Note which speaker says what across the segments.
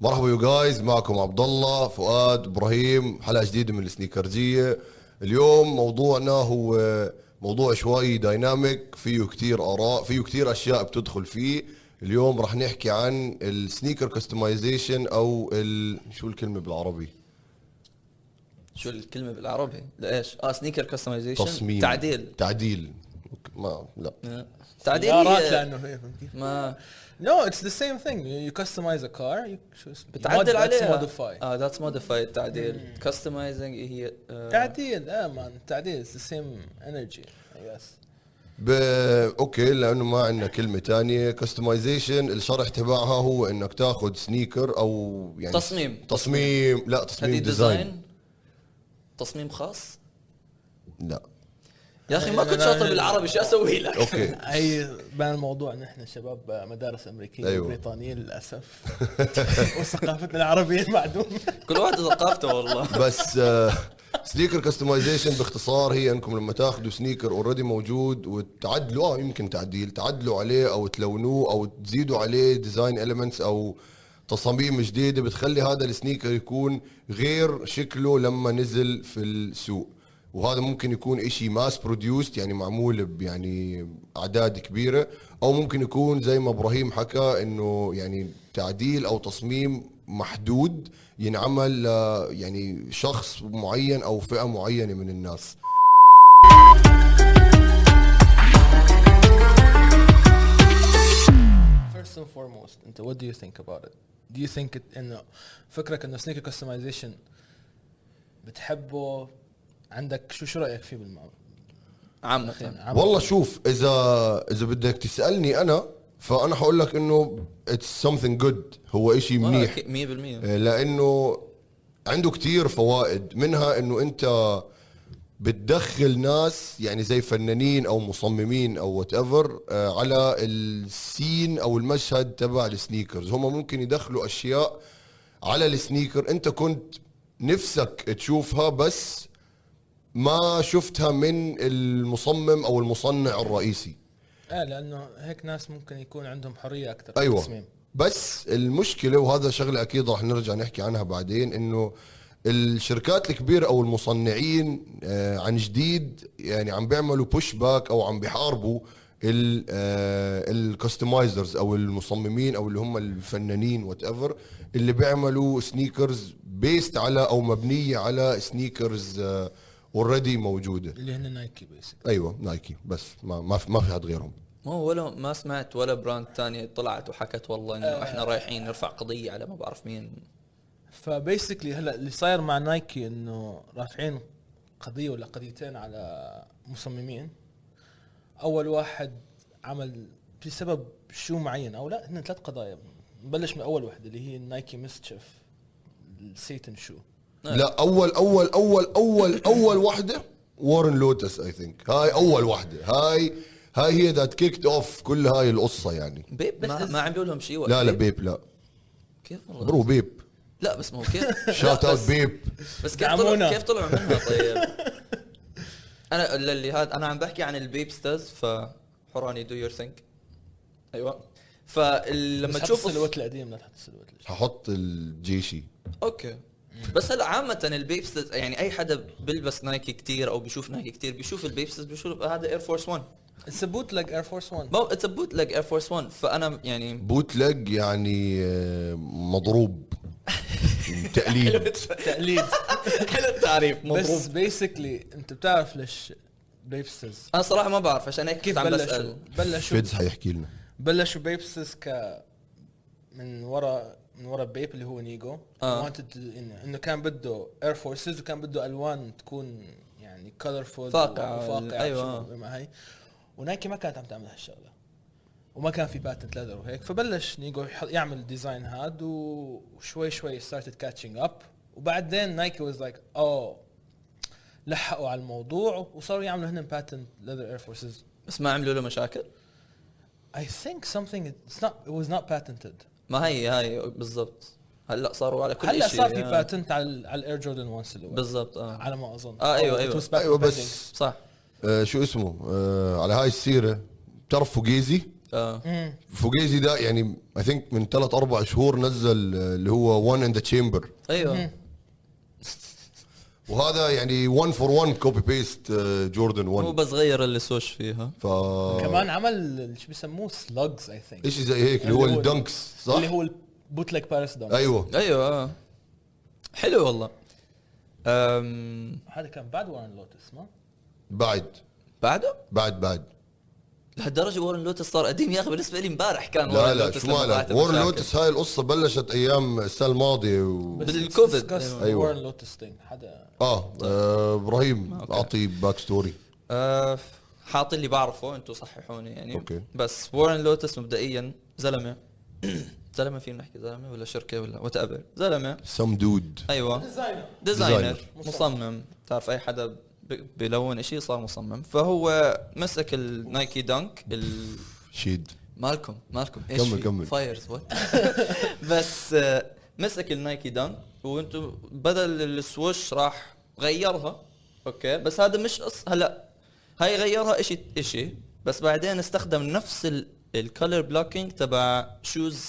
Speaker 1: مرحبا يو جايز معكم عبد الله فؤاد ابراهيم حلقه جديده من السنيكرجيه اليوم موضوعنا هو موضوع شوي دايناميك فيه كتير اراء فيه كتير اشياء بتدخل فيه اليوم رح نحكي عن السنيكر كستمايزيشن او ال... شو الكلمه بالعربي
Speaker 2: شو الكلمه بالعربي لايش اه سنيكر كستمايزيشن
Speaker 1: تصميم
Speaker 2: تعديل
Speaker 1: تعديل أوكي، ما لا
Speaker 2: آه. تعديل
Speaker 3: الارات
Speaker 2: هي-
Speaker 3: لانه هي فهمت كيف؟
Speaker 2: ما
Speaker 3: نو اتس ذا سيم ثينج يو كستمايز ا كار شو اسمه
Speaker 2: بتعدل عليها
Speaker 3: موديفاي
Speaker 2: اه ذاتس موديفاي التعديل كستمايزنج هي آه،
Speaker 3: تعديل اه مان تعديل اتس ذا سيم انرجي اي جس
Speaker 1: ب... اوكي لانه ما عندنا كلمه تانية كستمايزيشن الشرح تبعها هو انك تاخذ سنيكر او يعني
Speaker 2: تصميم.
Speaker 1: تصميم لا تصميم
Speaker 2: هذه
Speaker 1: ديزاين,
Speaker 2: ديزاين تصميم خاص
Speaker 1: لا
Speaker 2: يا اخي ما
Speaker 3: أنا-
Speaker 2: كنت
Speaker 3: أنا-
Speaker 2: شاطر بالعربي شو اسوي لك
Speaker 1: اوكي
Speaker 3: اي بان الموضوع نحن شباب مدارس امريكيه
Speaker 1: أيوة.
Speaker 3: أيوة. بريطانيه للاسف وثقافتنا العربيه معدومه
Speaker 2: كل واحد ثقافته والله
Speaker 1: بس سنيكر كستمايزيشن باختصار هي انكم لما تاخذوا سنيكر اوريدي موجود وتعدلوا اه يمكن تعديل تعدلوا عليه او تلونوه او تزيدوا عليه ديزاين اليمنتس او تصاميم جديده بتخلي هذا السنيكر يكون غير شكله لما نزل في السوق وهذا ممكن يكون إشي ماس بروديوست يعني معمول ب- يعني اعداد كبيره او ممكن يكون زي ما ابراهيم حكى انه يعني تعديل او تصميم محدود ينعمل ل يعني شخص معين او فئه معينه من الناس
Speaker 3: First and foremost, انت what do you think about it? Do you think it, انه فكرك انه sneaker customization بتحبه عندك شو شو رايك فيه بالمعنى؟
Speaker 2: عامة
Speaker 1: والله شوف اذا اذا بدك تسالني انا فانا حقول لك انه اتس something جود هو إشي منيح
Speaker 2: منيح 100%
Speaker 1: لانه آه، عنده كتير فوائد منها انه انت بتدخل ناس يعني زي فنانين او مصممين او وات ايفر على السين او المشهد تبع السنيكرز هم ممكن يدخلوا اشياء على السنيكر انت كنت نفسك تشوفها بس ما شفتها من المصمم او المصنع الرئيسي
Speaker 3: ايه لانه هيك ناس ممكن يكون عندهم حريه اكثر في
Speaker 2: أيوة.
Speaker 1: ايوه
Speaker 3: التصميم.
Speaker 1: بس المشكله وهذا شغله اكيد راح نرجع نحكي عنها بعدين انه الشركات الكبيره او المصنعين آه، عن جديد يعني عم بيعملوا بوش باك او عم بيحاربوا آه، الكستمايزرز او المصممين او اللي هم الفنانين وات ايفر اللي بيعملوا سنيكرز بيست على او مبنيه على آه، سنيكرز اوريدي موجوده
Speaker 3: اللي هن نايكي بيسك
Speaker 1: ايوه نايكي بس ما ما في, ما في حد غيرهم
Speaker 2: مو ولا ما سمعت ولا براند تانية طلعت وحكت والله انه احنا رايحين نرفع قضية على ما بعرف مين
Speaker 3: فبيسكلي هلا اللي صاير مع نايكي انه رافعين قضيه ولا قضيتين على مصممين اول واحد عمل بسبب شو معين او لا هن ثلاث قضايا نبلش من اول وحده اللي هي النايكي مسشف السيتن شو
Speaker 2: نعم.
Speaker 1: لا اول اول اول اول اول وحده وارن لوتس اي ثينك هاي اول وحده هاي هاي هي ذات كيكت اوف كل هاي القصه يعني
Speaker 2: بيب ما, ما عملوا لهم شيء ولا
Speaker 1: لا لا
Speaker 2: بيب.
Speaker 1: بيب لا
Speaker 2: كيف والله
Speaker 1: برو بيب
Speaker 2: لا بس مو كيف
Speaker 1: شات
Speaker 2: لا،
Speaker 1: اوت
Speaker 2: بس-
Speaker 1: بيب
Speaker 2: بس كيف طلعوا
Speaker 3: دعمونا.
Speaker 2: كيف طلعوا منها طيب انا اللي هذا انا عم بحكي عن البيبسترز ف حوراني دو يور ثينك ايوه فلما
Speaker 3: لما
Speaker 2: تشوف
Speaker 3: تشوف السلوت القديم لا تحط السلوت الجديد.
Speaker 1: ححط الجيشي
Speaker 2: اوكي بس هلا عامة البيبستز يعني اي حدا بيلبس نايكي كتير او بيشوف نايكي كتير بيشوف البيبستز بيشوف هذا اير فورس 1
Speaker 3: السبوت لك اير فورس 1
Speaker 2: ما اتس بوت لك اير فورس 1 فانا يعني
Speaker 1: بوتلج يعني آه، مضروب تقليد
Speaker 3: تقليد
Speaker 2: حلو التعريف مضروب
Speaker 3: بس بيسكلي انت بتعرف ليش بيبسز
Speaker 2: انا صراحة ما بعرف عشان هيك كنت عم
Speaker 3: بلشوا
Speaker 2: بسأل
Speaker 3: بلشوا
Speaker 1: فيدز حيحكي لنا
Speaker 3: بلشوا بيبسز ك من ورا من ورا بيب اللي هو نيجو
Speaker 2: آه.
Speaker 3: wanted to- انه إنه كان بده اير فورسز وكان بده الوان تكون يعني كلرفول
Speaker 2: فاقعة،
Speaker 3: فاقعه
Speaker 2: أيوة.
Speaker 3: وشو ما هي ونايكي ما كانت عم تعمل هالشغله وما كان في باتنت ليذر وهيك فبلش نيجو يح- يعمل ديزاين هاد و- وشوي شوي ستارتد كاتشنج اب وبعدين نايكي واز لايك اوه لحقوا على الموضوع وصاروا يعملوا هن باتنت ليذر اير فورسز
Speaker 2: بس ما عملوا له مشاكل
Speaker 3: I think something it's not it was not patented.
Speaker 2: ما هي هاي بالضبط هلا صاروا على كل شيء
Speaker 3: هلا صار في باتنت على على الاير جوردن 1 سيلوات
Speaker 2: بالضبط اه
Speaker 3: على ما اظن
Speaker 2: آه، أيوة،
Speaker 3: It
Speaker 2: أيوة.
Speaker 3: was patent
Speaker 1: ايوه
Speaker 3: pending.
Speaker 1: بس
Speaker 2: صح
Speaker 1: آه، شو اسمه آه، على هاي السيره بتعرف فوجيزي
Speaker 2: آه.
Speaker 1: فوجيزي ده يعني اي ثينك من ثلاث اربع شهور نزل آه، اللي هو وان ان ذا تشامبر
Speaker 2: ايوه
Speaker 1: وهذا يعني 1 فور 1 كوبي بيست جوردن
Speaker 2: مو
Speaker 1: 1
Speaker 2: بس غير اللي سوش فيها
Speaker 1: uh, ف
Speaker 3: كمان عمل شو بيسموه سلجز اي ثينك
Speaker 1: شيء زي هيك اللي هو الدنكس صح؟
Speaker 3: اللي هو البوتلك باريس دونك
Speaker 1: ايوه
Speaker 2: ايوه آه. حلو والله أم...
Speaker 3: هذا كان بعد وارن لوتس ما
Speaker 1: بعد
Speaker 2: بعده
Speaker 1: بعد بعد
Speaker 2: لهالدرجه وارن لوتس صار قديم يا اخي بالنسبه لي امبارح كان
Speaker 1: لا
Speaker 2: وارن
Speaker 1: لا
Speaker 2: لوتس
Speaker 1: شو
Speaker 2: لما
Speaker 1: مالك
Speaker 2: طلعت
Speaker 1: وورن
Speaker 2: المشاكل.
Speaker 1: لوتس هاي القصه بلشت ايام السنه الماضيه و...
Speaker 2: بالكوفيد.
Speaker 1: أيوة.
Speaker 3: ايوه وارن لوتس ثينج حدا
Speaker 1: آه, اه ابراهيم
Speaker 2: أوكي.
Speaker 1: اعطي باك ستوري
Speaker 2: آه، حاط اللي بعرفه انتم صححوني يعني
Speaker 1: أوكي.
Speaker 2: بس وارن لوتس مبدئيا زلمه زلمه فينا نحكي زلمه ولا شركه ولا وات ايفر زلمه
Speaker 1: سم دود
Speaker 2: ايوه
Speaker 3: ديزاينر
Speaker 2: ديزاينر
Speaker 1: ديزاينر.
Speaker 2: مصمم تعرف اي حدا ب- بيلون شيء صار مصمم فهو مسك النايكي دانك ال-
Speaker 1: شيد
Speaker 2: مالكم مالكم
Speaker 1: كمل- كمل.
Speaker 2: فايرز وات بس آه، مسك النايكي دان وانتم بدل السوش راح غيرها اوكي بس هذا مش قص هلا هاي غيرها اشي اشي بس بعدين استخدم نفس الكالر بلوكينج تبع شوز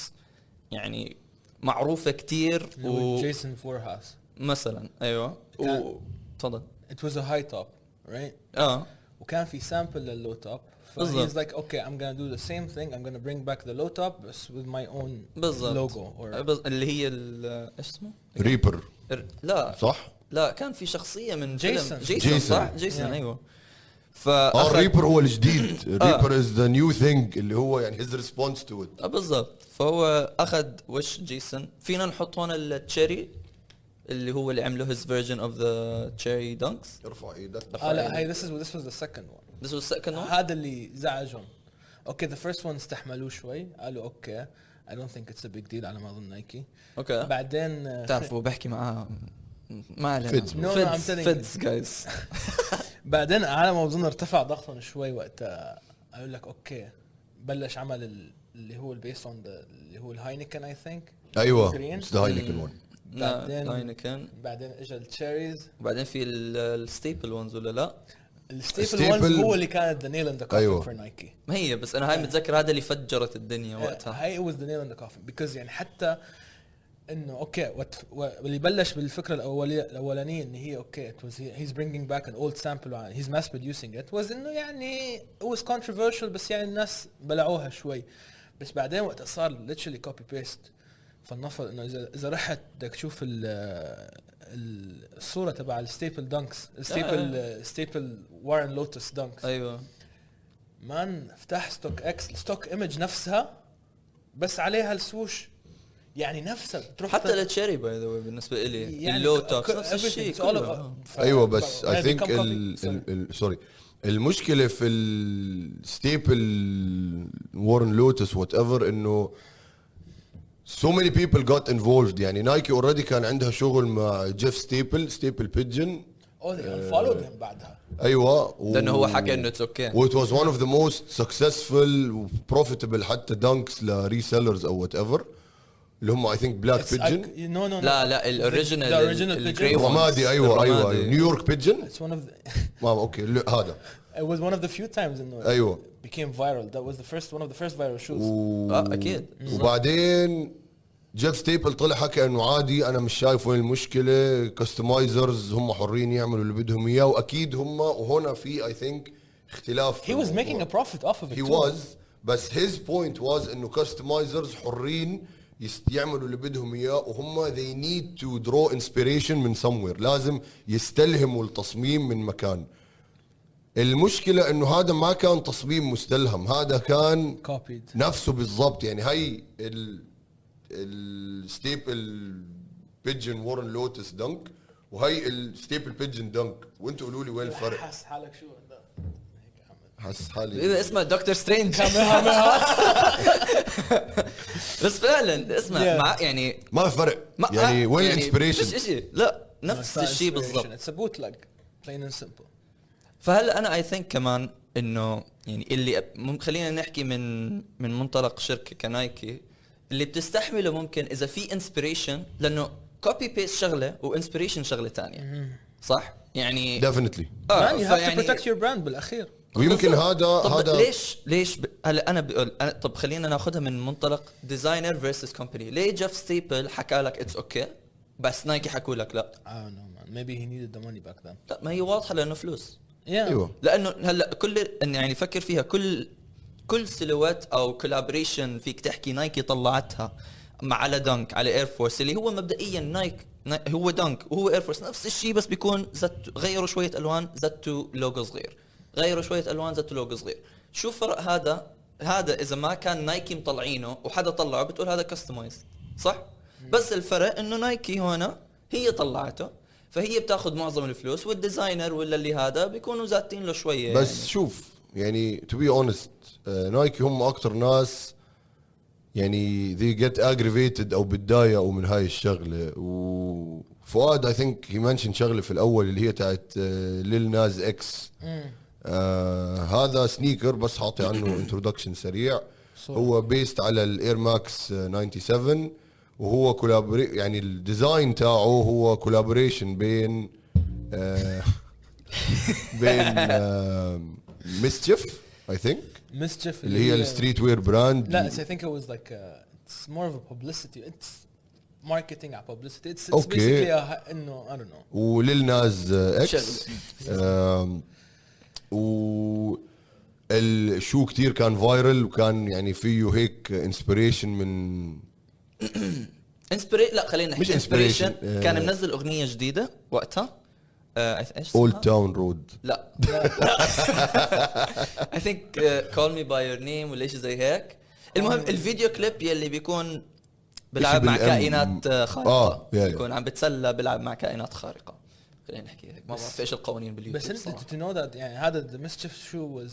Speaker 2: يعني معروفه كتير
Speaker 3: اللي هو
Speaker 2: و
Speaker 3: جيسون فورهاس
Speaker 2: مثلا ايوه و... تفضل
Speaker 3: ات واز ا هاي توب رايت
Speaker 2: اه
Speaker 3: وكان في سامبل لللو توب
Speaker 2: بالضبط.
Speaker 3: فهيز لايك اوكي ام gonna دو ذا سيم ثينج ام gonna برينج باك ذا لو توب بس with ماي اون
Speaker 2: بالضبط
Speaker 3: لوجو
Speaker 2: آه،
Speaker 3: اور
Speaker 2: بز- اللي هي ال- ايش اسمه؟
Speaker 1: ريبر
Speaker 2: ال- لا
Speaker 1: صح؟
Speaker 2: لا كان في شخصيه من فيلم-
Speaker 3: جيسون.
Speaker 2: جيسون,
Speaker 1: جيسون.
Speaker 2: صح جيسون
Speaker 3: Yeah.
Speaker 2: ايوه
Speaker 1: اه
Speaker 2: فأخذ
Speaker 1: الريبر هو الجديد الريبر از ذا نيو ثينج اللي هو يعني هيز ريسبونس تو ات
Speaker 2: آه، بالضبط فهو اخذ وش جيسون فينا نحط هون التشيري اللي هو اللي عمله هيز فيرجن اوف ذا تشيري دانكس
Speaker 1: ارفع ايدك
Speaker 2: آه.
Speaker 3: اه لا هاي ذس از ذس واز ذا سكند ون
Speaker 2: This was second one
Speaker 3: هذا اللي زعجهم اوكي ذا فيرست ون استحملوه شوي قالوا اوكي اي دونت ثينك اتس ا بيج ديل على ما اظن نايكي
Speaker 2: اوكي
Speaker 3: بعدين آه،
Speaker 2: بتعرفوا بحكي معاه ما علينا
Speaker 1: Feds.
Speaker 3: No, no, I'm
Speaker 2: فيدز
Speaker 3: telling
Speaker 2: فيدز جايز
Speaker 3: بعدين على ما اظن ارتفع ضغطهم شوي وقتها قالوا لك اوكي بلش عمل ال- اللي هو البيست اون اللي هو الهاينكن اي ثينك
Speaker 1: ايوه
Speaker 3: Green.
Speaker 1: اتس ذا هاينكن ون
Speaker 3: بعدين-
Speaker 2: بعدين
Speaker 3: بعدين اجى التشيريز
Speaker 2: وبعدين في الستيبل وونز ولا لا
Speaker 3: الستيبل
Speaker 1: Staple-
Speaker 3: ونز هو اللي كانت ذا نيل ان ذا كوفن
Speaker 1: أيوة.
Speaker 3: فور نايكي
Speaker 2: ما هي بس انا هاي متذكر هذا اللي فجرت الدنيا يعني وقتها
Speaker 3: آه. هاي واز ذا نيل ان ذا كوفن بيكوز يعني حتى انه اوكي وات واللي بلش بالفكره الاوليه الاولانيه ان هي اوكي ات واز هيز برينجينج باك ان اولد سامبل هيز ماس بروديوسينج ات واز انه يعني واز كونتروفيرشال بس يعني الناس بلعوها شوي بس بعدين وقت صار ليتشلي كوبي بيست فلنفرض انه اذا اذا رحت بدك تشوف ال ال- الصوره تبع الستيبل دانكس ستيبل ستيبل وارن لوتس دانكس
Speaker 2: ايوه
Speaker 3: مان افتح ستوك اكس الستوك ايمج نفسها بس عليها السوش يعني نفسها بتروح
Speaker 2: حتى
Speaker 3: تت- يعني
Speaker 2: التشيري باي ذا بالنسبه لي اللو توكس نفس الشيء
Speaker 3: everything. It's all
Speaker 2: كله.
Speaker 3: about-
Speaker 2: آه.
Speaker 3: ف-
Speaker 1: ايوه بس
Speaker 3: يعني
Speaker 1: اي ثينك
Speaker 3: become copy. Sorry.
Speaker 1: سوري المشكله في الستيبل وورن لوتس وات ايفر انه سو ماني بيبل جوت انفولفد يعني نايكي اوريدي كان عندها شغل مع جيف ستيبل ستيبل بيجن
Speaker 3: Oh, they unfollowed him بعدها
Speaker 1: ايوه و-
Speaker 2: لانه هو حكى انه اتس اوكي
Speaker 1: وات واز ون اوف ذا موست سكسسفul وبروفيتبل حتى دانكس لريسيلرز او وات ايفر اللي هم اي ثينك بلاك بيجن
Speaker 3: نو نو
Speaker 2: لا لا الاوريجينال
Speaker 3: The original
Speaker 2: الجري
Speaker 3: pigeon.
Speaker 1: الرمادي ايوه ايوه نيويورك بيجن
Speaker 3: It's one of the,
Speaker 1: ما اوكي لا، هذا
Speaker 3: it was one of the few times in it
Speaker 1: ايوه
Speaker 3: became viral. That was the first one of the first viral shoes.
Speaker 1: و...
Speaker 2: آه، أكيد.
Speaker 1: وبعدين جيف ستيبل طلع حكى انه عادي انا مش شايف وين المشكله كاستمايزرز هم حرين يعملوا اللي بدهم اياه واكيد هم وهنا في اي ثينك اختلاف في
Speaker 3: He was making
Speaker 1: الموضوع.
Speaker 3: a profit off of it.
Speaker 1: هي
Speaker 3: too.
Speaker 1: واز بس هيز بوينت واز انه كاستمايزرز حرين يست- يعملوا اللي بدهم اياه وهم they need to draw inspiration من somewhere لازم يستلهموا التصميم من مكان المشكله انه هذا ما كان تصميم مستلهم هذا كان
Speaker 3: copied.
Speaker 1: نفسه بالضبط يعني هي ال الستيبل بيجن وورن لوتس دنك وهي الستيبل بيجن دنك وانتوا قولوا لي وين الفرق
Speaker 3: حاس حالك شو هلا هيك عمل.
Speaker 1: حاسس حالي
Speaker 2: اذا اسمه دكتور سترينج بس فعلا اسمه
Speaker 3: Yeah.
Speaker 2: مع يعني
Speaker 1: ما فرق
Speaker 2: ما
Speaker 1: يعني
Speaker 2: آه،
Speaker 1: وين
Speaker 2: مش
Speaker 1: الانسبريشن
Speaker 2: إشي لا نفس
Speaker 3: It's not
Speaker 2: الشيء
Speaker 3: inspiration.
Speaker 2: بالضبط
Speaker 3: It's a bootleg. Plain and simple.
Speaker 2: فهلا انا اي ثينك كمان انه يعني اللي مم خلينا نحكي من من منطلق شركه كنايكي اللي بتستحمله ممكن اذا في انسبريشن لانه كوبي بيست شغله وانسبريشن شغله تانية صح يعني
Speaker 1: ديفنتلي
Speaker 2: آه،
Speaker 3: Man, يعني you have to
Speaker 2: فيعني-
Speaker 3: protect your brand بالاخير.
Speaker 1: ويمكن هذا
Speaker 2: طب
Speaker 1: هذا
Speaker 2: ليش ليش ب... هلا انا بقول أنا... طب خلينا ناخذها من منطلق ديزاينر فيرسس كومباني ليه جيف ستيبل حكى لك اتس اوكي okay بس نايكي حكوا لك لا
Speaker 3: I don't know man. Maybe he needed the money back then.
Speaker 2: لا ما هي واضحه لانه فلوس
Speaker 3: Yeah.
Speaker 1: ايوه
Speaker 2: لانه هلا كل إن يعني فكر فيها كل كل سيلوات او كولابريشن فيك تحكي نايكي طلعتها مع على دنك على اير فورس اللي هو مبدئيا نايك ناي- هو دنك وهو اير فورس نفس الشيء بس بيكون زت غيروا شويه الوان زتوا لوجو صغير غيروا شويه الوان زتوا لوجو صغير شو فرق هذا هذا اذا ما كان نايكي مطلعينه وحدا طلعه بتقول هذا كستمايز صح بس الفرق انه نايكي هنا هي طلعته فهي بتاخذ معظم الفلوس والديزاينر ولا اللي هذا بيكونوا زاتين له شويه
Speaker 1: بس شوف يعني تو بي اونست نايكي آه، هم اكثر ناس يعني ذي جيت اجريفيتد او بتضايقوا من هاي الشغله وفؤاد اي ثينك هي منشن شغله في الاول اللي هي تاعت آه، ليل ناز اكس
Speaker 3: Mm.
Speaker 1: آه هذا سنيكر بس حاطي عنه انترودكشن سريع
Speaker 3: صورة.
Speaker 1: هو بيست على الاير ماكس 97 آه، وهو كولابري يعني الديزاين تاعه هو كولابوريشن بين آه بين آه مسchief اي ثينك
Speaker 3: Mischief
Speaker 1: اللي هي الستريت وير براند
Speaker 3: لا it's- I think it was like a, it's more of a publicity it's marketing at publicity it's, it's
Speaker 1: Okay.
Speaker 3: basically a hi- انه I don't know
Speaker 1: وليل ناز اكس
Speaker 2: شغل.
Speaker 1: آم، و الشو كتير كان فايرل وكان يعني فيه هيك انسبريشن من
Speaker 2: انسبري لا خلينا نحكي
Speaker 1: مش inspiration.
Speaker 2: inspiration. كان
Speaker 1: آه.
Speaker 2: منزل اغنيه جديده وقتها آه، إيش اسمها؟
Speaker 1: اولد تاون رود
Speaker 2: لا آه، اي ثينك كول مي باي يور نيم ولا شيء زي هيك المهم الفيديو كليب يلي بيكون بيلعب مع
Speaker 1: بالأم-
Speaker 2: كائنات آه، خارقه
Speaker 1: آه، يا- يا.
Speaker 2: بيكون عم بتسلى بيلعب مع كائنات خارقه خلينا نحكي هيك ما بعرف ايش القوانين
Speaker 3: بس
Speaker 2: باليوتيوب
Speaker 3: انت
Speaker 2: صراحه
Speaker 3: to know that يعني هذا the mischief شو was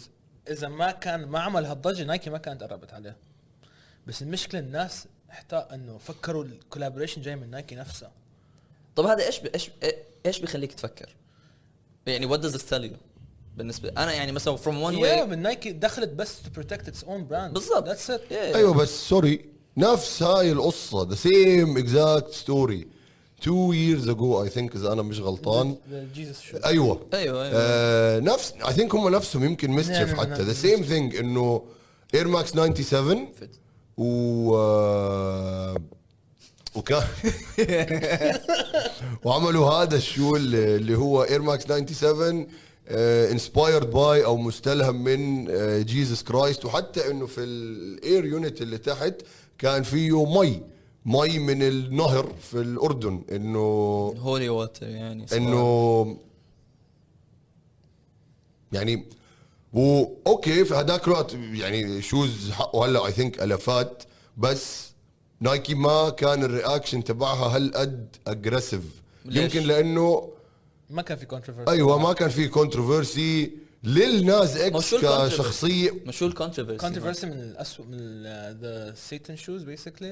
Speaker 3: اذا ما كان ما عمل هالضجه نايكي ما كانت قربت عليه بس المشكله الناس احتاج انه فكروا الكولابوريشن جاي من نايكي نفسها
Speaker 2: طب هذا ايش ايش ايش إيه- بيخليك تفكر؟ يعني وات داز تيل يو بالنسبه انا يعني مثلا فروم وان
Speaker 3: yeah
Speaker 2: واي
Speaker 3: من نايكي دخلت بس to protect its own brand
Speaker 2: بالضبط
Speaker 3: that's it أيوه.
Speaker 2: ايوه
Speaker 1: ايوه بس سوري نفس هاي القصه ذا سيم اكزاكت ستوري تو years ago اي ثينك اذا انا مش غلطان
Speaker 3: جيسس شو
Speaker 1: ايوه
Speaker 2: ايوه ايوه
Speaker 1: آه نفس اي ثينك هم نفسهم يمكن
Speaker 3: نعم،
Speaker 1: مسchief
Speaker 3: نعم،
Speaker 1: حتى
Speaker 3: نعم.
Speaker 1: ذا سيم ثينج انه اير ماكس 97 و آه، وكان وعملوا هذا الشو اللي اللي هو اير ماكس 97 آه، انسبايرد باي او مستلهم من جيزس كرايست وحتى انه في الاير يونت اللي تحت كان فيه مي مي من النهر في الاردن انه
Speaker 2: هولي واتر يعني صراحة.
Speaker 1: انه يعني و اوكي في هداك الوقت يعني شوز حقه هلا اي ثينك الافات بس نايكي ما كان الرياكشن تبعها هالقد اجريسيف
Speaker 2: ليش؟
Speaker 1: يمكن لانه
Speaker 3: ما كان في controversy
Speaker 1: ايوه ما كان في كونتروفيرسي للناس اكس
Speaker 2: شو ال controversy؟
Speaker 1: كشخصيه
Speaker 2: ما شو الكونتروفيرسي
Speaker 3: controversy من الاسوء من ال- the Satan shoes basically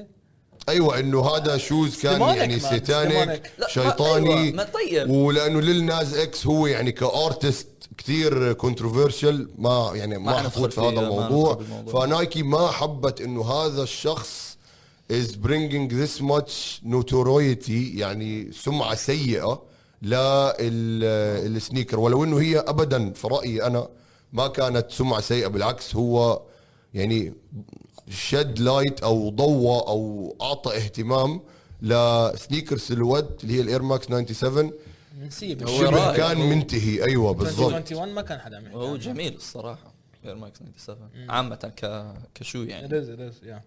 Speaker 1: ايوه انه هذا شوز كان
Speaker 3: Demonic
Speaker 1: يعني
Speaker 3: man,
Speaker 1: سيتانيك
Speaker 3: demonic.
Speaker 2: لا،
Speaker 1: شيطاني
Speaker 2: أيوة، ما طيب.
Speaker 1: ولانه ليل ناز اكس هو يعني كارتست كثير كونتروفيرشل ما يعني ما,
Speaker 2: ما ندخل
Speaker 1: حفوت في
Speaker 2: فيه،
Speaker 1: هذا
Speaker 2: ما
Speaker 1: الموضوع
Speaker 2: ندخل بالموضوع.
Speaker 1: فنايكي ما حبت انه هذا الشخص is bringing this much notoriety يعني سمعه سيئه للسنيكر ولو انه هي ابدا في رايي انا ما كانت سمعه سيئه بالعكس هو يعني شد لايت او ضوى او اعطى اهتمام لسنيكر سيلوات اللي هي الاير ماكس 97
Speaker 3: نسيه
Speaker 2: هو
Speaker 1: شبه
Speaker 2: رائع.
Speaker 1: كان منتهي ايوه بالضبط
Speaker 3: 2021 ما كان حدا عم يحكي
Speaker 2: هو
Speaker 3: عنه.
Speaker 2: جميل الصراحه غير ماكس 97 عامه ك كشو
Speaker 3: It
Speaker 2: يعني
Speaker 3: is, it is, yeah.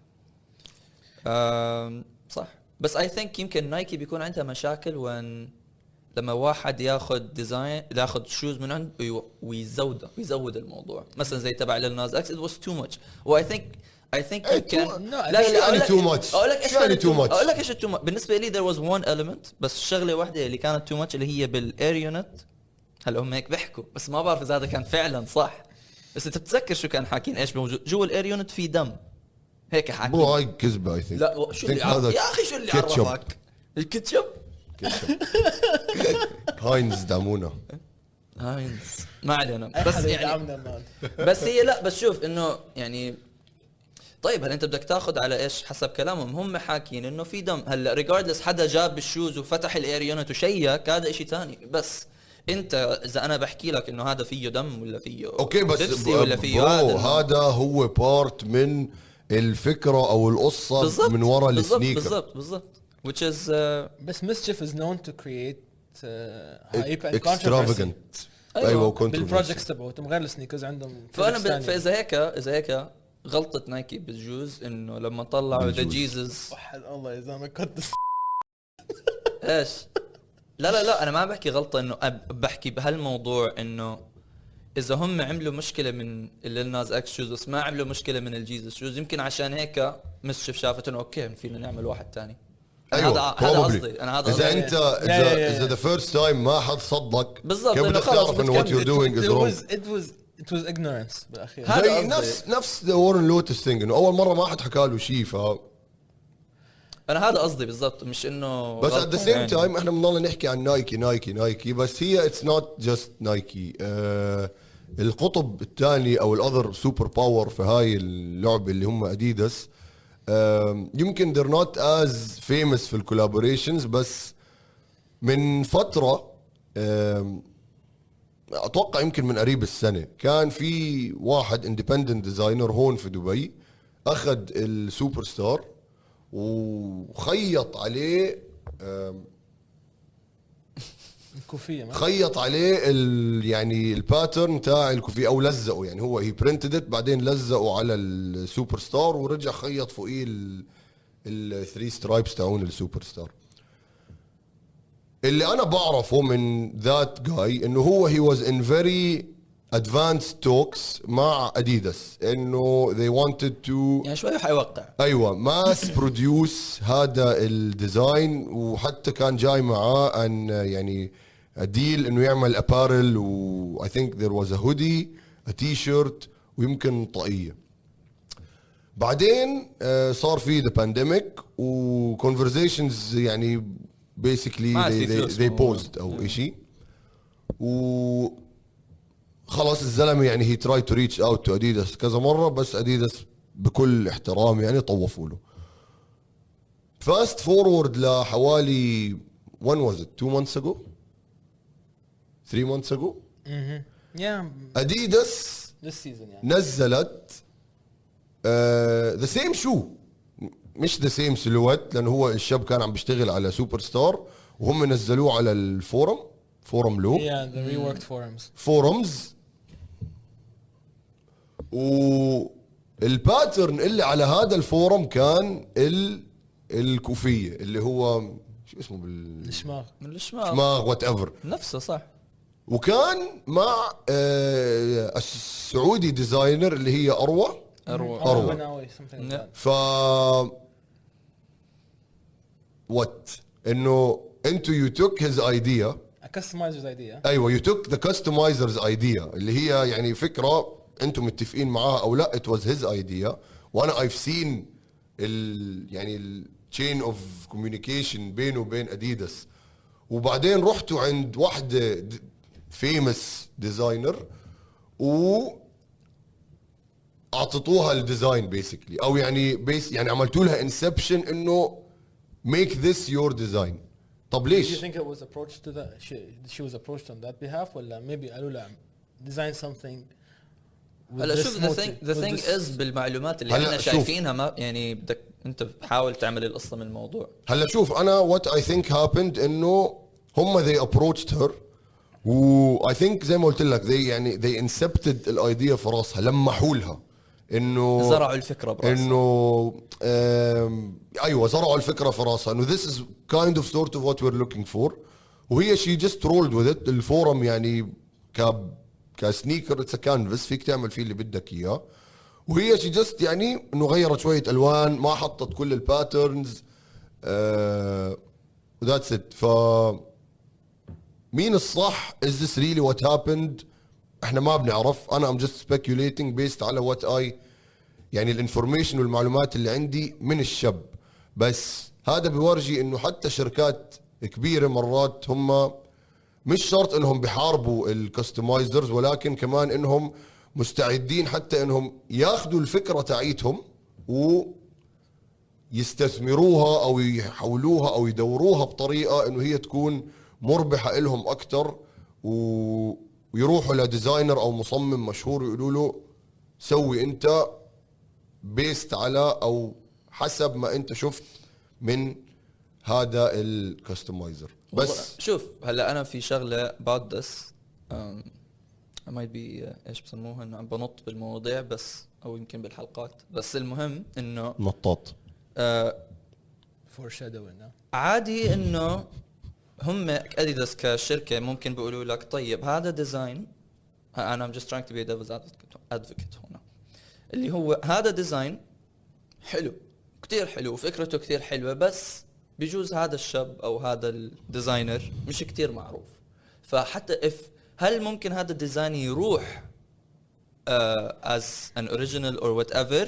Speaker 2: آم، صح بس اي ثينك يمكن نايكي بيكون عندها مشاكل وان لما واحد ياخذ ديزاين ياخذ شوز من عند ويو- ويزوده ويزود الموضوع مثلا زي تبع ليل ناز اكس ات واز تو ماتش واي ثينك اي ثينك
Speaker 1: إيه،
Speaker 2: يمكن
Speaker 1: too-
Speaker 2: لا،
Speaker 1: no,
Speaker 2: لا،
Speaker 1: إيش
Speaker 2: لا،
Speaker 1: يعني
Speaker 2: أقول لك-
Speaker 1: too much؟
Speaker 2: اقول لك ايش
Speaker 1: إيش يعني
Speaker 2: يعني تو
Speaker 1: too much؟
Speaker 2: ماتش اقول لك ايش تو ماتش بالنسبه لي there was one element بس شغله واحده اللي كانت تو ماتش اللي هي بالاير يونت هلا هم هيك بيحكوا بس ما بعرف اذا هذا كان فعلا صح بس انت بتتذكر شو كان حاكين ايش موجود جوا الاير يونت في دم هيك حاكين
Speaker 1: مو هاي كذبه اي ثينك
Speaker 2: لا شو اللي عرف يا اخي شو اللي عرفك الكاتشب
Speaker 1: هاينز دعمونا
Speaker 2: هاينز آه، ما علينا
Speaker 3: أي
Speaker 2: بس
Speaker 3: حدا
Speaker 2: يعني
Speaker 3: يدعمنا مان.
Speaker 2: بس هي لا بس شوف انه يعني طيب هل انت بدك تاخذ على ايش حسب كلامهم هم حاكيين انه في دم هلا ريجاردلس حدا جاب الشوز وفتح الاير يونت وشيك هذا شيء ثاني بس انت اذا انا بحكي لك انه هذا فيه دم ولا فيه
Speaker 1: اوكي بس
Speaker 2: بيبسي
Speaker 1: ب-
Speaker 2: ولا فيه
Speaker 1: برو،
Speaker 2: هذا
Speaker 1: هذا هو بارت من الفكره او القصه
Speaker 2: بالضبط
Speaker 1: من ورا
Speaker 2: بالضبط،
Speaker 1: السنيكر
Speaker 2: بالضبط بالضبط which is uh,
Speaker 3: بس mischief is known to create uh, hype and controversy
Speaker 1: اكسترافجنت
Speaker 2: أيوة،
Speaker 1: ايوه وكونتروفيرسي
Speaker 3: بالبروجكتس تبعهم غير السنيكرز عندهم
Speaker 2: فانا
Speaker 3: projects
Speaker 2: ب...
Speaker 3: تانية.
Speaker 2: فاذا هيك اذا هيك غلطه نايكي بجوز انه لما طلعوا ذا جيزس
Speaker 3: وحد الله يا زلمه كنت
Speaker 2: ايش لا لا لا انا ما عم بحكي غلطه انه أب- بحكي بهالموضوع انه اذا هم عملوا مشكله من الناز اكس شوز بس ما عملوا مشكله من الجيزس شوز يمكن عشان هيك مسشف شافت انه اوكي فينا نعمل واحد تاني أنا هذا
Speaker 1: ايوه
Speaker 2: هذا
Speaker 1: probably.
Speaker 2: قصدي انا هذا
Speaker 1: اذا
Speaker 2: قصدي
Speaker 1: انت
Speaker 3: يا- يا- يا-
Speaker 1: اذا اذا ذا فيرست تايم ما حد صدق
Speaker 2: بالضبط،
Speaker 1: كيف
Speaker 2: إنه
Speaker 1: بدك
Speaker 2: خلاص
Speaker 1: تعرف انه وات يور دوينج از
Speaker 3: it
Speaker 1: رونج
Speaker 3: was it was it was ignorance بالاخير
Speaker 2: هذا
Speaker 1: زي
Speaker 2: قصدي.
Speaker 1: نفس نفس ذا وارن لوتس ثينج انه اول مره ما حد حكى له شيء ف
Speaker 2: انا هذا قصدي بالضبط مش انه
Speaker 1: بس ات
Speaker 2: غلطة
Speaker 1: ذا سيم
Speaker 2: يعني.
Speaker 1: تايم احنا بنضل نحكي عن نايكي نايكي نايكي بس هي اتس نوت جاست نايكي آه، القطب الثاني او الاذر سوبر باور في هاي اللعبه اللي هم اديداس آم، يمكن they're not as famous في الكولابوريشنز بس من فتره آم، اتوقع يمكن من قريب السنه كان في واحد اندبندنت ديزاينر هون في دبي اخذ السوبر ستار وخيط عليه آم،
Speaker 3: الكوفيه ما
Speaker 1: خيط عليه ال يعني الباترن تاع الكوفي او لزقه يعني هو هي برنتد بعدين لزقه على السوبر ستار ورجع خيط فوقيه الثري سترايبس تاعون السوبر ستار اللي انا بعرفه من ذات جاي انه هو هي واز ان فيري ادفانس توكس مع اديداس انه they wanted to
Speaker 2: يعني شوي حيوقع
Speaker 1: ايوه ماس بروديوس هذا الديزاين وحتى كان جاي معاه ان يعني ديل انه يعمل ابارل و اي ثينك ذير واز ا هودي ا تي شيرت ويمكن طاقيه بعدين آه، صار في ذا بانديميك وكونفرزيشنز يعني
Speaker 2: ما
Speaker 1: بيسكلي
Speaker 2: في
Speaker 1: they,
Speaker 2: فلوس
Speaker 1: they, they paused او شيء و خلاص الزلمه يعني هي تراي تو ريتش اوت تو اديداس كذا مره بس اديداس بكل احترام يعني طوفوا له فاست فورورد لحوالي when was it 2 months ago 3 months ago
Speaker 3: يا
Speaker 1: اديداس
Speaker 3: ذس سيزون يعني
Speaker 1: نزلت آه، ذا سيم شو مش ذا سيم سلوات لان هو الشاب كان عم بيشتغل على سوبر ستار وهم نزلوه على الفورم فورم لو
Speaker 3: يا ذا ري وركد فورمز
Speaker 1: فورمز والباترن اللي على هذا الفورم كان ال الكوفيه اللي هو شو اسمه بال
Speaker 3: الشماغ
Speaker 2: من الشمال
Speaker 1: ما وات ايفر
Speaker 2: نفسه صح
Speaker 1: وكان مع آه السعودي ديزاينر اللي هي اروى
Speaker 2: اروع
Speaker 1: أروع.
Speaker 3: بناوي something like
Speaker 2: لا.
Speaker 3: that.
Speaker 1: ف وات انه انتو يو توك هيز ايديا
Speaker 3: A customizer idea
Speaker 1: ايوه يو توك ذا كاستمايزرز ايديا اللي هي يعني فكره انتم متفقين معاها او لا ات واز هيز ايديا وانا ايف سين ال يعني التشين اوف كوميونيكيشن بينه وبين اديداس وبعدين رحتوا عند واحده فيمس ديزاينر و اعطيتوها الديزاين بيسكلي او يعني بيس يعني عملتوا لها انسبشن انه ميك ذس يور ديزاين طب
Speaker 3: Do you
Speaker 1: ليش؟
Speaker 3: think it was approached to that she, she was approached on that behalf ولا maybe قالوا لها design something with
Speaker 2: هلا
Speaker 3: this
Speaker 2: شوف ذا
Speaker 3: motive,
Speaker 2: ثينج ذا
Speaker 3: with
Speaker 2: ثينج
Speaker 3: this-
Speaker 2: از بالمعلومات اللي
Speaker 1: هلا
Speaker 2: احنا
Speaker 1: شوف.
Speaker 2: شايفينها ما يعني بدك انت بتحاول تعمل القصه من الموضوع
Speaker 1: هلا شوف انا وات اي ثينك هابند انه هم ذي ابروتشد هير و اي ثينك زي ما قلت لك ذي يعني ذي انسبتد الايديا في راسها لمحوا لها انه
Speaker 2: زرعوا الفكره براسه
Speaker 1: انه آم، ايوه زرعوا الفكره في راسها انه ذس از كايند اوف سورت اوف وات وير لوكينج فور وهي شي جست رولد وذ ات الفورم يعني ك كسنيكر اتس كانفاس فيك تعمل فيه اللي بدك اياه وهي شي جست يعني انه غيرت شويه الوان ما حطت كل الباترنز وذاتس ات ف مين الصح از ذس ريلي وات هابند احنا ما بنعرف انا ام جست سبيكيوليتنج بيست على وات اي يعني الانفورميشن والمعلومات اللي عندي من الشاب بس هذا بيورجي انه حتى شركات كبيره مرات هم مش شرط انهم بيحاربوا الكستمايزرز ولكن كمان انهم مستعدين حتى انهم ياخذوا الفكره تاعيتهم ويستثمروها او يحولوها او يدوروها بطريقه انه هي تكون مربحه لهم اكثر و... ويروحوا لديزاينر او مصمم مشهور ويقولوا له سوي انت بيست على او حسب ما انت شفت من هذا الكستمايزر بس
Speaker 2: والله- شوف هلا انا في شغله بعد this um, I might be uh, ايش بسموها انه عم بنط بالمواضيع بس او يمكن بالحلقات بس المهم انه
Speaker 1: نطاط
Speaker 2: آه،
Speaker 3: فور شادوين
Speaker 2: عادي انه هم اديداس كشركه ممكن بيقولوا لك طيب هذا ديزاين انا ام جاست تراينج تو بي ديفلز ادفوكيت هنا اللي هو هذا ديزاين حلو كتير حلو وفكرته كتير حلوه بس بجوز هذا الشاب او هذا الديزاينر مش كتير معروف فحتى اف هل ممكن هذا الديزاين يروح uh, as an original or whatever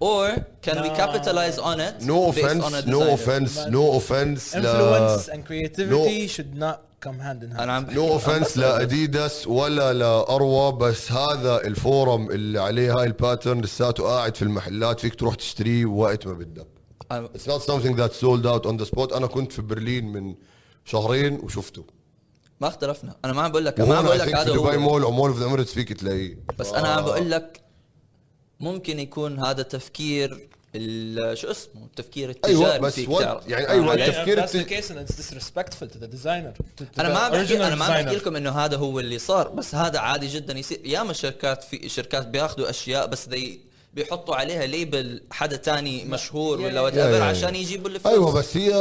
Speaker 2: or can we
Speaker 3: No.
Speaker 2: capitalize on it
Speaker 1: نو
Speaker 2: based on
Speaker 1: اوفنس
Speaker 2: a
Speaker 1: نو
Speaker 2: designer?
Speaker 1: اوفنس نو اوفنس
Speaker 3: influence
Speaker 1: لا
Speaker 3: and creativity should not come hand in hand
Speaker 2: انا عم بحكي-
Speaker 1: نو اوفنس لا اديداس ولا لاروى بس هذا الفورم اللي عليه هاي الباترن لساته قاعد في المحلات فيك تروح تشتريه وقت ما بدك
Speaker 2: أنا-
Speaker 1: It's not something that's sold out on the spot انا كنت في برلين من شهرين وشفته
Speaker 2: ما اختلفنا انا ما عم بقول لك ما عم
Speaker 1: وهون
Speaker 2: بقول
Speaker 1: I
Speaker 2: لك
Speaker 1: think في
Speaker 2: هذا
Speaker 1: دبي
Speaker 2: هو
Speaker 1: مول ومول اوف ذا اميريتس فيك تلاقيه
Speaker 2: بس انا عم بقول لك ممكن يكون هذا تفكير ال- شو اسمه التفكير التجاري
Speaker 1: أيوة، بس
Speaker 2: فيك
Speaker 1: what-
Speaker 2: تعرف. آه،
Speaker 1: يعني
Speaker 2: فاهم
Speaker 1: أيوة،
Speaker 2: علي؟
Speaker 1: التف- تفكير
Speaker 3: that's the
Speaker 1: الت-
Speaker 3: case and it's disrespectful to the designer to-
Speaker 2: انا
Speaker 3: to the
Speaker 2: ما عم بحكي
Speaker 3: original
Speaker 2: انا ما عم بحكي
Speaker 3: designer.
Speaker 2: لكم انه هذا هو اللي صار بس هذا عادي جدا يصير ياما شركات في شركات بياخذوا اشياء بس they بيحطوا عليها ليبل حدا تاني مشهور ولا وات
Speaker 1: Yeah, yeah, yeah.
Speaker 2: عشان يجيبوا الفلوس
Speaker 1: ايوه بس هي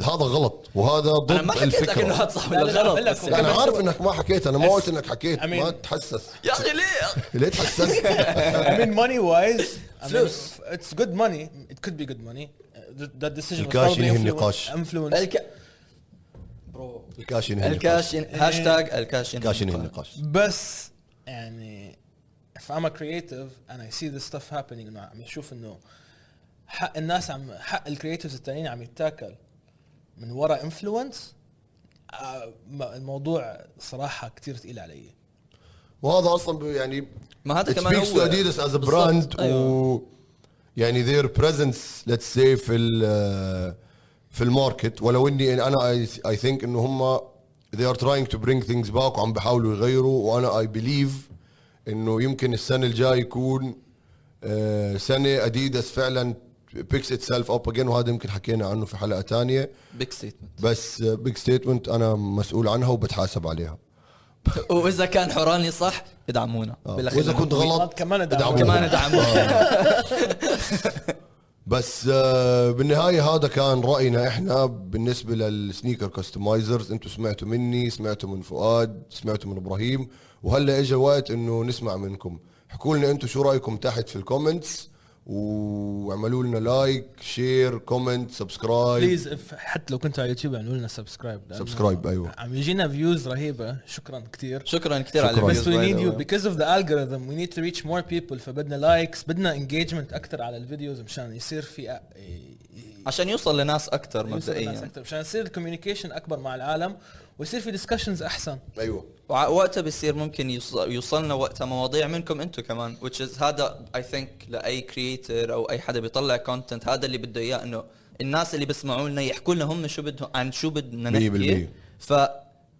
Speaker 1: هذا غلط وهذا ضد
Speaker 2: انا ما حكيت لك انه
Speaker 1: الفكره
Speaker 2: هذا صح
Speaker 3: لا،
Speaker 2: ولا
Speaker 3: لا، لا،
Speaker 2: غلط
Speaker 3: بقول لك
Speaker 2: بس
Speaker 3: هو-
Speaker 2: يعني-
Speaker 1: انا عارف انك ما حكيت انا ما قلت انك حكيت
Speaker 3: I mean-
Speaker 1: ما تحسس
Speaker 2: يا اخي ليه
Speaker 1: ليه تحسست
Speaker 3: I mean money wise I mean,
Speaker 2: فلوس.
Speaker 3: it's good money it could be good money Uh, th- that decision was
Speaker 1: الكاش
Speaker 3: probably
Speaker 1: ينهي
Speaker 3: influence,
Speaker 1: النقاش.
Speaker 3: influence.
Speaker 2: الك... برو
Speaker 1: الكاش ينهي النقاش
Speaker 2: الكاش ين- هاشتاج الكاش
Speaker 1: يعني الكاش ينهي النقاش
Speaker 3: بس يعني if I'm a creative and I see this stuff happening إنه عم بشوف انه حق الناس عم حق الكريتيفز التانيين عم يتاكل من ورا انفلونس الموضوع صراحه كتير ثقيل علي
Speaker 1: وهذا اصلا ب- يعني
Speaker 2: ما هذا
Speaker 1: it
Speaker 2: كمان
Speaker 1: speaks
Speaker 2: هو
Speaker 1: to Adidas as a
Speaker 2: بالضبط،
Speaker 1: brand
Speaker 2: أيوة.
Speaker 1: و يعني their presence let's say في ال آه، في الماركت ولو اني أنا- انا I, I think انه هم they are trying to bring things back وعم بيحاولوا يغيروا وانا I believe انه يمكن السنه الجاي يكون آه، سنه اديداس فعلا picks itself up again وهذا يمكن حكينا عنه في حلقه تانية
Speaker 2: بيج ستيتمنت
Speaker 1: بس بيج ستيتمنت انا مسؤول عنها وبتحاسب عليها
Speaker 2: واذا كان حوراني صح ادعمونا
Speaker 1: آه.
Speaker 2: بالأخير
Speaker 1: واذا كنت
Speaker 2: نقول.
Speaker 1: غلط آه.
Speaker 3: كمان ادعمونا.
Speaker 1: ادعمونا.
Speaker 2: كمان ادعمونا
Speaker 1: بس آه، بالنهايه هذا كان راينا احنا بالنسبه للسنيكر كاستمايزرز انتم سمعتوا مني سمعتوا من فؤاد سمعتوا من ابراهيم وهلا اجى وقت انه نسمع منكم احكوا لنا انتم شو رايكم تحت في الكومنتس واعملوا لنا لايك شير كومنت سبسكرايب
Speaker 3: بليز اف حتى لو كنتوا على يوتيوب اعملوا لنا سبسكرايب
Speaker 1: طيب. Subscribe، أيوة.
Speaker 3: عم يجينا فيوز رهيبه شكرا كثير
Speaker 2: شكرا كثير على
Speaker 1: شكراً. أيوة.
Speaker 2: الفيوز،
Speaker 3: بس وي
Speaker 2: by
Speaker 3: نيد
Speaker 2: the
Speaker 3: يو
Speaker 2: way.
Speaker 3: بيكوز اوف ذا الجوريثم وي نيد تو ريتش مور بيبل فبدنا لايكس بدنا انجيجمنت اكثر على الفيديوز مشان يصير في أ- ي- ي-
Speaker 2: عشان يوصل لناس اكثر
Speaker 3: يوصل للناس
Speaker 2: مبدئيا
Speaker 3: اكثر مشان يصير الكوميونيكيشن اكبر مع العالم ويصير في ديسكشنز احسن
Speaker 1: ايوه
Speaker 2: وع- وقتها بيصير ممكن يوص- يوصلنا وقتها مواضيع منكم انتم كمان which is هذا اي ثينك لاي كريتر او اي حدا بيطلع كونتنت هذا اللي بده اياه انه الناس اللي بيسمعوا لنا يحكوا لنا هم شو بدهم عن شو بدنا
Speaker 1: مية بالمية.
Speaker 2: نحكي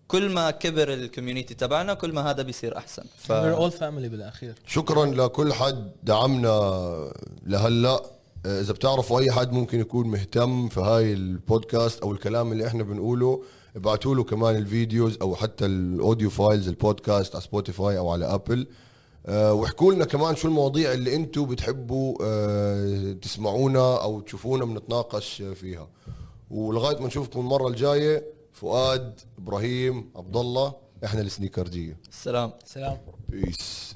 Speaker 2: فكل ما كبر الكوميونتي تبعنا كل ما هذا بيصير احسن ف
Speaker 3: وير اول فاميلي بالاخير
Speaker 1: شكرا لكل حد دعمنا لهلا اذا بتعرفوا اي حد ممكن يكون مهتم في هاي البودكاست او الكلام اللي احنا بنقوله ابعتوا له كمان الفيديوز او حتى الاوديو فايلز البودكاست على سبوتيفاي او على ابل أه واحكوا لنا كمان شو المواضيع اللي انتم بتحبوا أه تسمعونا او تشوفونا بنتناقش فيها ولغايه ما نشوفكم المره الجايه فؤاد ابراهيم عبد الله احنا السنيكرديه
Speaker 2: سلام
Speaker 3: سلام
Speaker 1: بيس